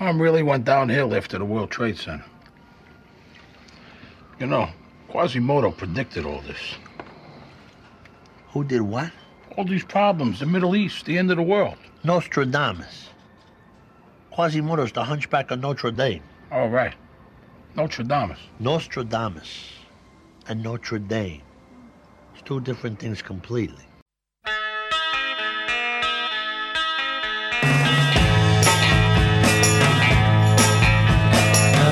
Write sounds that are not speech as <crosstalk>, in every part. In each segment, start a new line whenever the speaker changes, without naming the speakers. um, really went downhill after the World Trade Center. You know, Quasimodo predicted all this.
Who did what?
All these problems, the Middle East, the end of the world.
Nostradamus. Quasimodo's the hunchback of Notre Dame.
All right. Notre Dame.
Nostradamus and Notre Dame. It's two different things completely.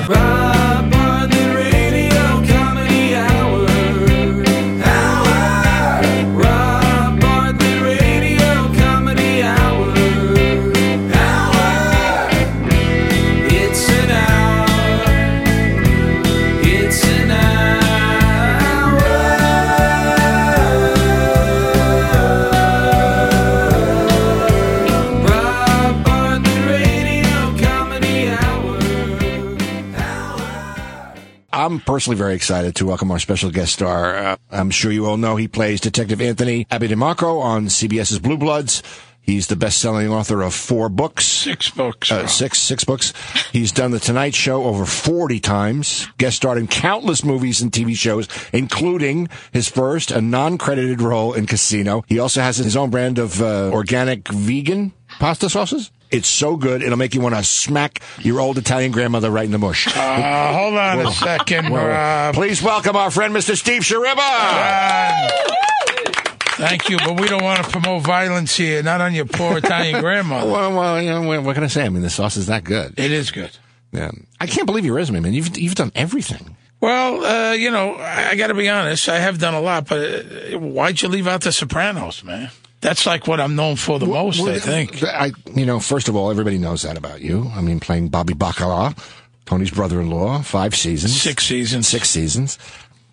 Rob on the radio comedy hour. Rob on the radio comedy hour. It's an hour. It's an hour. Rob on the radio comedy hour.
I'm personally very excited to welcome our special guest star. Uh, I'm sure you all know he plays Detective Anthony Abidemarco on CBS's Blue Bloods. He's the best-selling author of four books.
Six books.
Uh, six six books. He's done the Tonight Show over forty times. Guest starred in countless movies and TV shows, including his first a non-credited role in Casino. He also has his own brand of uh, organic vegan pasta sauces. It's so good it'll make you want to smack your old Italian grandmother right in the mush.
Uh, hold on a second, Rob.
Please welcome our friend Mr. Steve Shariba.
Uh, Thank you, but we don't want to promote violence here, not on your poor Italian grandmother.
Well, well, you know, what can I say? I mean, the sauce is that good.
It is good.
Yeah. I can't believe your resume, man. You've you've done everything.
Well, uh, you know, I, I got to be honest. I have done a lot, but uh, why'd you leave out The Sopranos, man? That's like what I'm known for the most, I think.
I, you know, first of all, everybody knows that about you. I mean, playing Bobby Bacala, Tony's brother-in-law, five seasons,
Six seasons.
six seasons.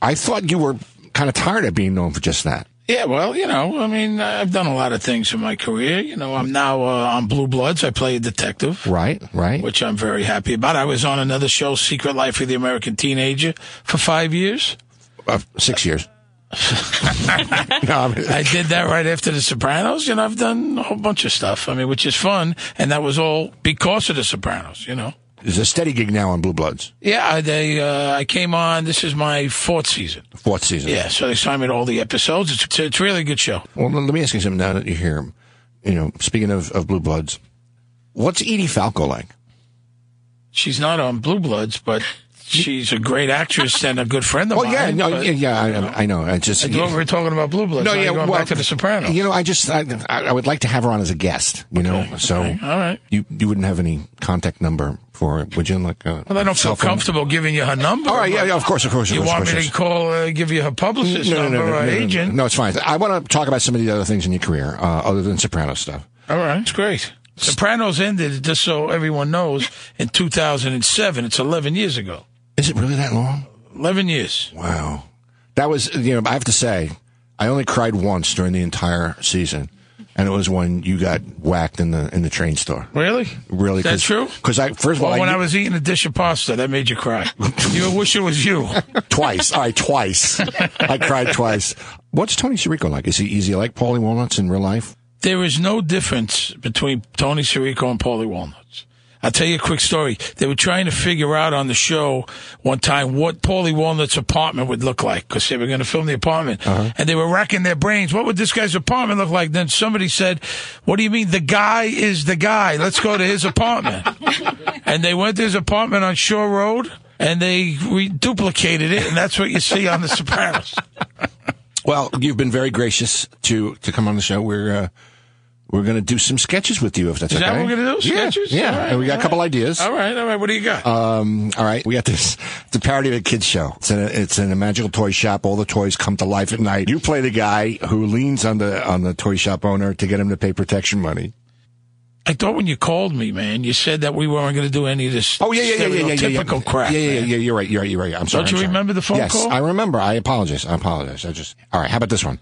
I thought you were kind of tired of being known for just that.
Yeah, well, you know, I mean, I've done a lot of things in my career. You know, I'm now uh, on Blue Bloods. I play a detective.
Right, right.
Which I'm very happy about. I was on another show, Secret Life of the American Teenager, for five years.
Uh,
<laughs>
six years. <laughs> no, I mean,
I did that right after The Sopranos. You know, I've done a whole bunch of stuff. I mean, which is fun, and that was all because of The Sopranos. You know.
there's a steady gig now on Blue Bloods,
Yeah, I, they. Uh, I came on. This is my fourth season.
fourth season.
Yeah, so they signed me to all the episodes. It's it's, it's a really good show.
Well, let me ask you something now that you hear him. You know, speaking of, of Blue Bloods, what's Edie Falco like?
She's not on Blue Bloods, but she's a great actress and a good friend of
Well,
mine.
yeah, no,
but-
yeah, yeah, I, I know. I just
I thought we were talking about Blue Bloods. No, yeah, going back to The Sopranos.
You know, I just I, I I would like to have her on as a guest. You know, so
all right.
you you wouldn't have any contact number for her, would you? Like, uh,
Well, I don't feel
cell phone?
comfortable giving you her number.
All right, yeah,
but
yeah, of course, of course. of
You
course,
want
of course,
me to call, uh, give you her publicist
yes.
number or agent?
No, it's fine. I want to talk about some of the other things in your career, uh, other than Soprano stuff.
All right, it's great. Sopranos ended, just so everyone knows, in 2007. It's 11 years ago.
Is it really that long?
11 years.
Wow. That was, you know, I have to say, I only cried once during the entire season. And it was when you got whacked in the in the train store.
Really?
Really?
Is that true?
Because I first of all,
Well, when
I,
I
knew-
was eating a dish of pasta, that made you cry. you wish it was you.
twice. I twice. I cried twice. What's Tony Sirico like? Is he is he like Paulie Walnuts in real life?
There is no difference between Tony Sirico and Paulie Walnuts. I'll tell you a quick story. They were trying to figure out on the show one time what Paulie Walnut's apartment would look like because they were going to film the apartment. And they were racking their brains. What would this guy's apartment look like? Then somebody said, What do you mean the guy is the guy? Let's go to his <laughs> apartment. and they went to his apartment on Shore Road and they re- duplicated it. And that's what you see on The Sopranos.
Well, you've been very gracious to to come on the show. We're uh, we're going to do some sketches with you if that's
Is
okay.
that what we're going to do?
Yeah,
Sketches?
Yeah,
All right,
and we got
all
a couple
right.
ideas.
All right, all right. What do you got?
Um, all right, we got this. It's a parody of a kids show. It's in a, it's in a magical toy shop. All the toys come to life at night. You play the guy who leans on the on the toy shop owner to get him to pay protection money.
I thought when you called me, man, you said that we weren't going to do any of this.
Oh yeah, yeah, yeah, yeah, yeah, yeah, yeah.
stereotypical crap.
Yeah, yeah, yeah,
man.
yeah. You're right. You're right. You're right. I'm sorry.
Don't you
I'm sorry.
remember the phone
yes,
call?
I remember. I apologize. I apologize. I just. All right. How about this one?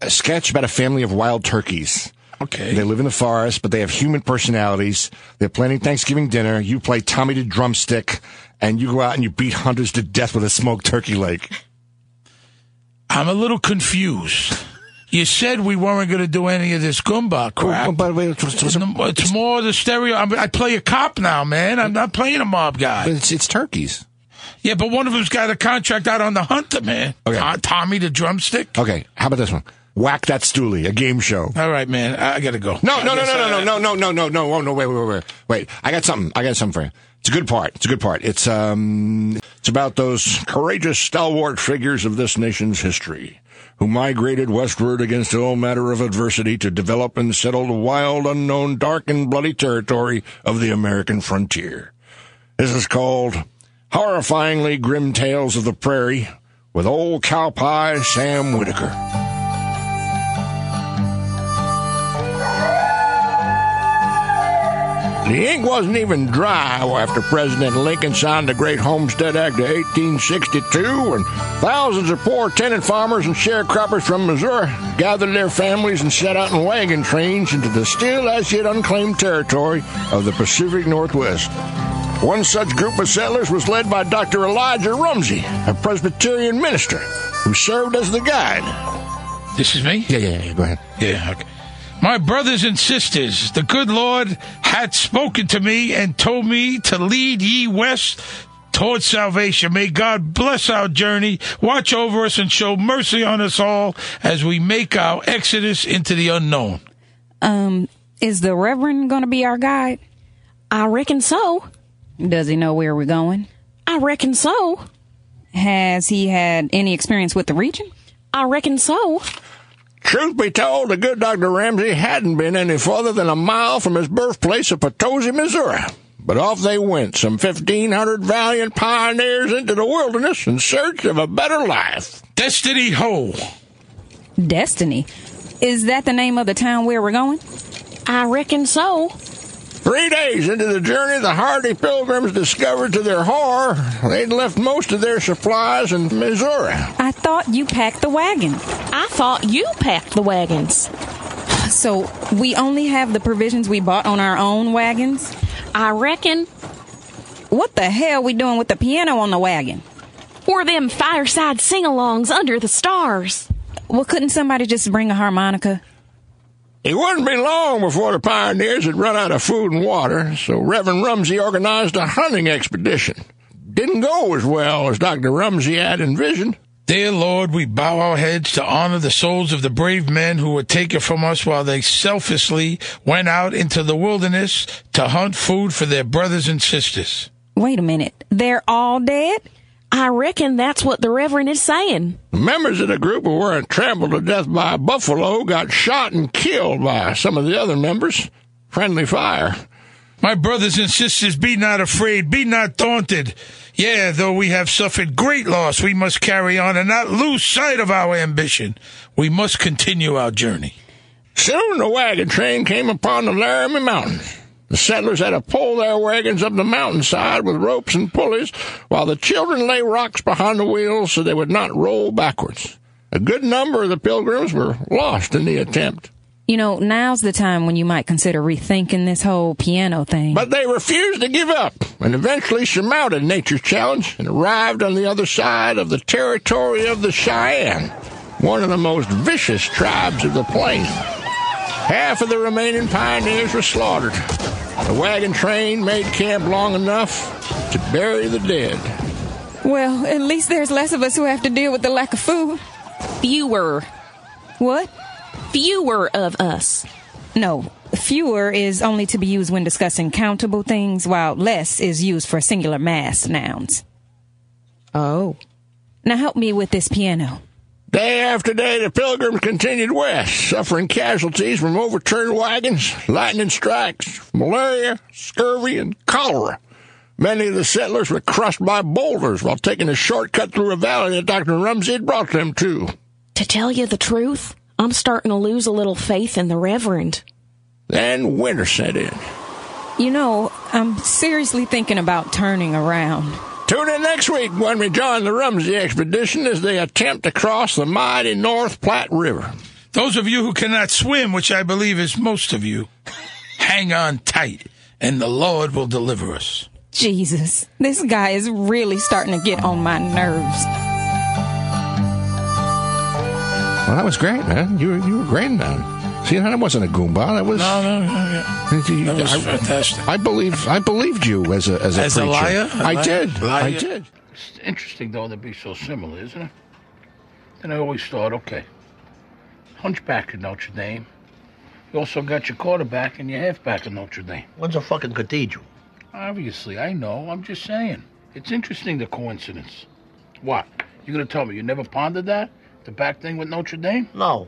A sketch about a family of wild turkeys.
Okay.
They live in the forest, but they have human personalities. They're planning Thanksgiving dinner. You play Tommy the drumstick, and you go out and you beat hunters to death with a smoked turkey leg.
I'm a little confused. You said we weren't going to do any of this Goomba crap.
But wait, it's, it's-
It's more the stereo. I, I play a cop now, man. I'm not playing a mob guy.
it's- it's turkeys.
Yeah, but one of them's got a contract out on the hunter, man.
Okay.
To- Tommy the drumstick.
Okay, how about this one? Whack that Stoolie, a game show.
All right, man. I, I got to go.
No, no, no, no, no, no, no, no, no, no, oh, no, wait, wait, wait, wait, wait. I got something. I got something for you. It's a good part. It's a good part. It's um, it's about those courageous stalwart figures of this nation's history who migrated westward against all matter of adversity to develop and settle the wild, unknown, dark and bloody territory of the American frontier. This is called Horrifyingly Grim Tales of the Prairie with old cow pie Sam Whitaker. The ink wasn't even dry after President Lincoln signed the Great Homestead Act of 1862, and thousands of poor tenant farmers and sharecroppers from Missouri gathered their families and set out in wagon trains into the still as yet unclaimed territory of the Pacific Northwest. One such group of settlers was led by Dr. Elijah Rumsey, a Presbyterian minister, who served as the guide.
This is me?
Yeah, yeah, yeah, go ahead.
Yeah, okay. My brothers and sisters, the good Lord hath spoken to me and told me to lead ye west toward salvation. May God bless our journey, watch over us, and show mercy on us all as we make our exodus into the unknown.
Um, is the Reverend going to be our guide?
I reckon so.
Does he know where we're going?
I reckon so.
Has he had any experience with the region?
I reckon so.
Truth be told, the good Dr. Ramsey hadn't been any further than a mile from his birthplace of Potosi, Missouri. But off they went, some 1,500 valiant pioneers into the wilderness in search of a better life.
Destiny Ho.
Destiny. Is that the name of the town where we're going?
I reckon so.
Three days into the journey, the hardy pilgrims discovered to their horror they'd left most of their supplies in Missouri.
I thought you packed the wagon.
I thought you packed the wagons.
So we only have the provisions we bought on our own wagons?
I reckon.
What the hell we doing with the piano on the wagon?
Or them fireside sing alongs under the stars.
Well, couldn't somebody just bring a harmonica?
It wouldn't be long before the pioneers had run out of food and water, so Reverend Rumsey organized a hunting expedition. Didn't go as well as Dr. Rumsey had envisioned.
Dear Lord, we bow our heads to honor the souls of the brave men who were taken from us while they selfishly went out into the wilderness to hunt food for their brothers and sisters.
Wait a minute. They're all dead?
I reckon that's what the Reverend is saying.
Members of the group who weren't trampled to death by a buffalo got shot and killed by some of the other members. Friendly fire.
My brothers and sisters, be not afraid, be not daunted. Yeah, though we have suffered great loss, we must carry on and not lose sight of our ambition. We must continue our journey.
Soon the wagon train came upon the Laramie Mountains. The settlers had to pull their wagons up the mountainside with ropes and pulleys, while the children lay rocks behind the wheels so they would not roll backwards. A good number of the pilgrims were lost in the attempt,
You know, now's the time when you might consider rethinking this whole piano thing.
but they refused to give up and eventually surmounted nature's challenge and arrived on the other side of the territory of the Cheyenne, one of the most vicious tribes of the plains. Half of the remaining pioneers were slaughtered. The wagon train made camp long enough to bury the dead.
well, at least there's less of us who have to deal with the lack of food.
Fewer.
What?
Fewer of us.
No. Fewer is only to be used when discussing countable things, while less is used for singular mass nouns.
Oh.
Now help me with this piano.
Day after day, the pilgrims continued west, suffering casualties from overturned wagons, lightning strikes, malaria, scurvy, and cholera. Many of the settlers were crushed by boulders while taking a shortcut through a valley that Dr. Rumsey had brought them to.
To tell you the truth, I'm starting to lose a little faith in the Reverend.
Then winter set in.
You know, I'm seriously thinking about turning around.
Tune in next week when we join the Rumsey expedition as they attempt to cross the mighty North Platte River.
Those of you who cannot swim, which I believe is most of you, hang on tight, and the Lord will deliver us.
Jesus, this guy is really starting to get on my nerves.
Well, that was great, man. You were, you were great in that. See, that wasn't a goomba. That was.
No, no, no. Yeah.
You-
That was
I,
fantastic.
I believe I believed you as a as a
As a
preacher.
liar? A
I
liar?
did. I
Liar?
did.
It's interesting, though, to be so similar, isn't it? Then I always thought, okay, Hunchback at Notre Dame. You also got your quarterback and your halfback at Notre Dame.
One's a fucking cathedral.
Obviously, I know. I'm just saying. It's interesting, the coincidence. What? You're going to tell me you never pondered that? The back thing with Notre Dame?
No.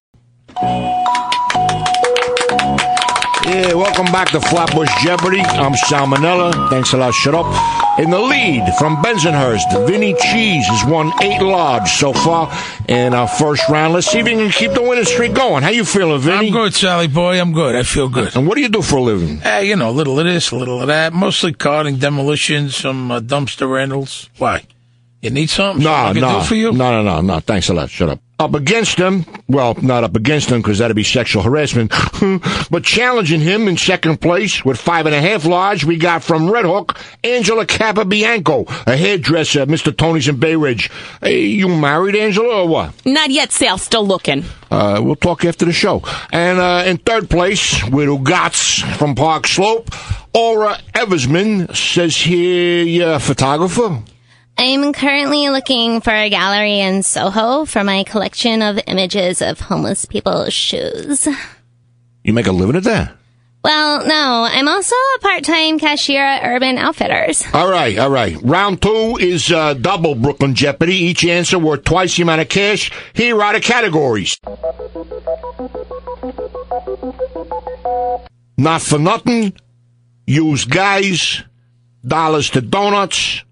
Yeah, welcome back to Flatbush Jeopardy. I'm Salmonella. Thanks a lot. Shut up. In the lead from Bensonhurst, Vinny Cheese has won eight large so far in our first round. Let's see if he can keep the winning streak going. How you feeling, Vinny?
I'm good, Sally boy. I'm good. I feel good.
And what do you do for a living?
Hey, you know, a little of this, a little of that. Mostly carding, demolition, some uh, dumpster rentals. Why? You need something?
No,
Something I can
no,
do for you?
no, no, no, no. Thanks a lot. Shut up. Up against him, well, not up against him because that'd be sexual harassment, <laughs> but challenging him in second place with five and a half large. We got from Red Hook Angela Capabianco, a hairdresser, at Mr. Tony's in Bay Ridge. Hey, you married Angela or what?
Not yet, Sal. Still looking.
Uh, we'll talk after the show. And uh, in third place, with Ugats from Park Slope, Aura Eversman says here, yeah, photographer.
I'm currently looking for a gallery in Soho for my collection of images of homeless people's shoes.
You make a living at that.
Well, no, I'm also a part-time cashier at Urban Outfitters.
All right, all right. Round two is uh, double Brooklyn Jeopardy. Each answer worth twice the amount of cash. Here are the categories. Not for nothing. Use guys. Dollars to donuts.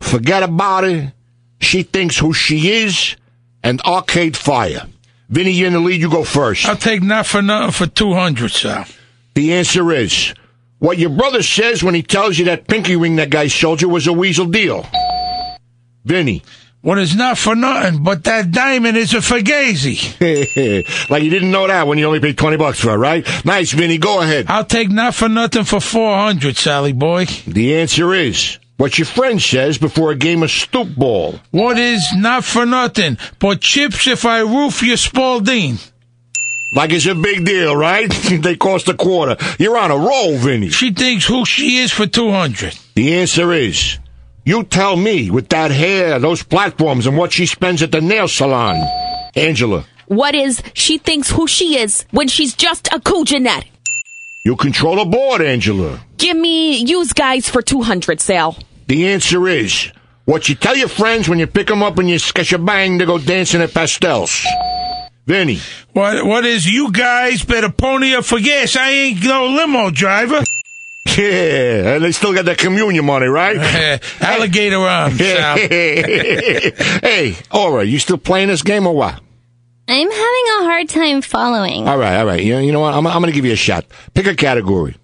Forget about it. She thinks who she is. And arcade fire. Vinny, you're in the lead. You go first.
I'll take not for nothing for 200, Sal.
The answer is what your brother says when he tells you that pinky ring that guy sold you was a weasel deal. Vinny, <laughs>
What is not for nothing, but that diamond is a Fugazi.
like you didn't know that when you only paid 20 bucks for it, right? Nice, Vinny, go ahead.
I'll take not for nothing for 400, Sally boy.
The answer is what your friend says before a game of stoop ball.
What is not for nothing, but chips if I roof your Spalding?
Like it's a big deal, right? <laughs> they cost a quarter. You're on a roll, Vinny.
She thinks who she is for 200.
The answer is you tell me with that hair, those platforms, and what she spends at the nail salon. Angela.
What is she thinks who she is when she's just a Kujanet?
You control a board, Angela.
Give me use guys for 200, Sal.
The answer is what you tell your friends when you pick them up and you sketch a bang to go dancing at pastels. Vinny,
What, what is you guys better pony up for gas? I ain't no limo driver.
<laughs>
<laughs>
yeah, and they still got that communion money, <laughs> right?
Eh, Alligator
<laughs>
arms, Sal.
hey, Aura, you still playing this game or what?
I'm having a hard time following.
All right, all right. You, you know what? I'm, I'm going to give you a shot. Pick a category.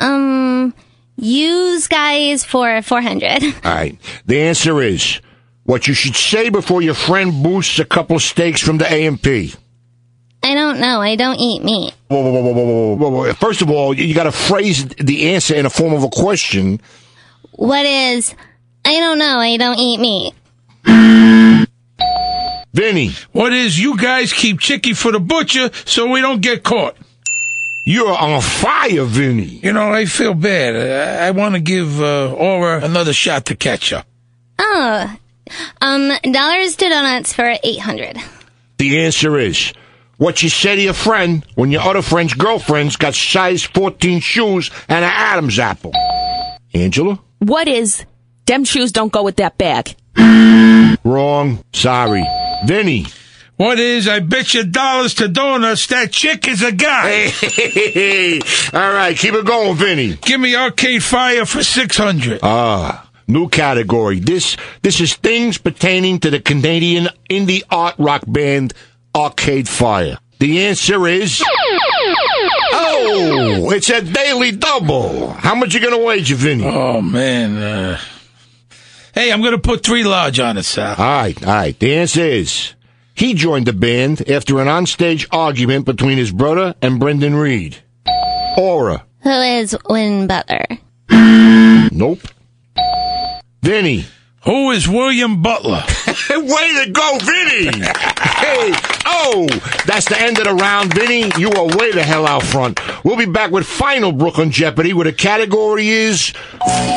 Um, use guys for 400.
All right. The answer is what you should say before your friend boosts a couple steaks from the AMP.
I don't know. I don't eat meat.
Whoa, whoa, whoa, whoa, whoa, whoa, whoa, whoa. First of all, you got to phrase the answer in the form of a question.
What is, I don't know. I don't eat meat.
Vinny,
What is you guys keep Chicky for the butcher so we don't get caught?
You're on fire, Vinny.
You know, I feel bad. I, I want to give uh, Aura another shot to catch up.
Oh, um, dollars to donuts for 800.
The answer is what you say to your friend when your other friend's girlfriend's got size 14 shoes and an Adam's apple. Angela?
What is them shoes don't go with that bag?
Wrong. Sorry. Vinny.
What is, I bet you dollars to donuts, that chick is a guy.
<laughs> All right, keep it going, Vinny.
Give me Arcade Fire for 600.
Ah, new category. This this is things pertaining to the Canadian indie art rock band Arcade Fire. The answer is Oh, it's a daily double. How much you gonna wager, Vinny? All
oh, man. Uh, hey, I'm going to put three large on it, Sal.
right, all right. The answer is he joined the band after an onstage argument between his brother and Brendan Reed. Aura.
Who is Win Butler?
Nope. Vinny.
Who is William Butler?
way to go, Vinny! hey, oh, that's the end of the round, Vinny. You are way the hell out front. We'll be back with final Brooklyn Jeopardy, where the category is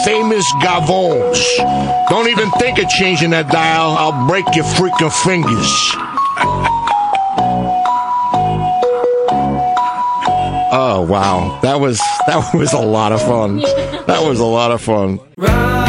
famous gavons. Don't even think of changing that dial. I'll break your freaking fingers. Oh wow, that was that was a lot of fun. That was a lot of fun.
Ride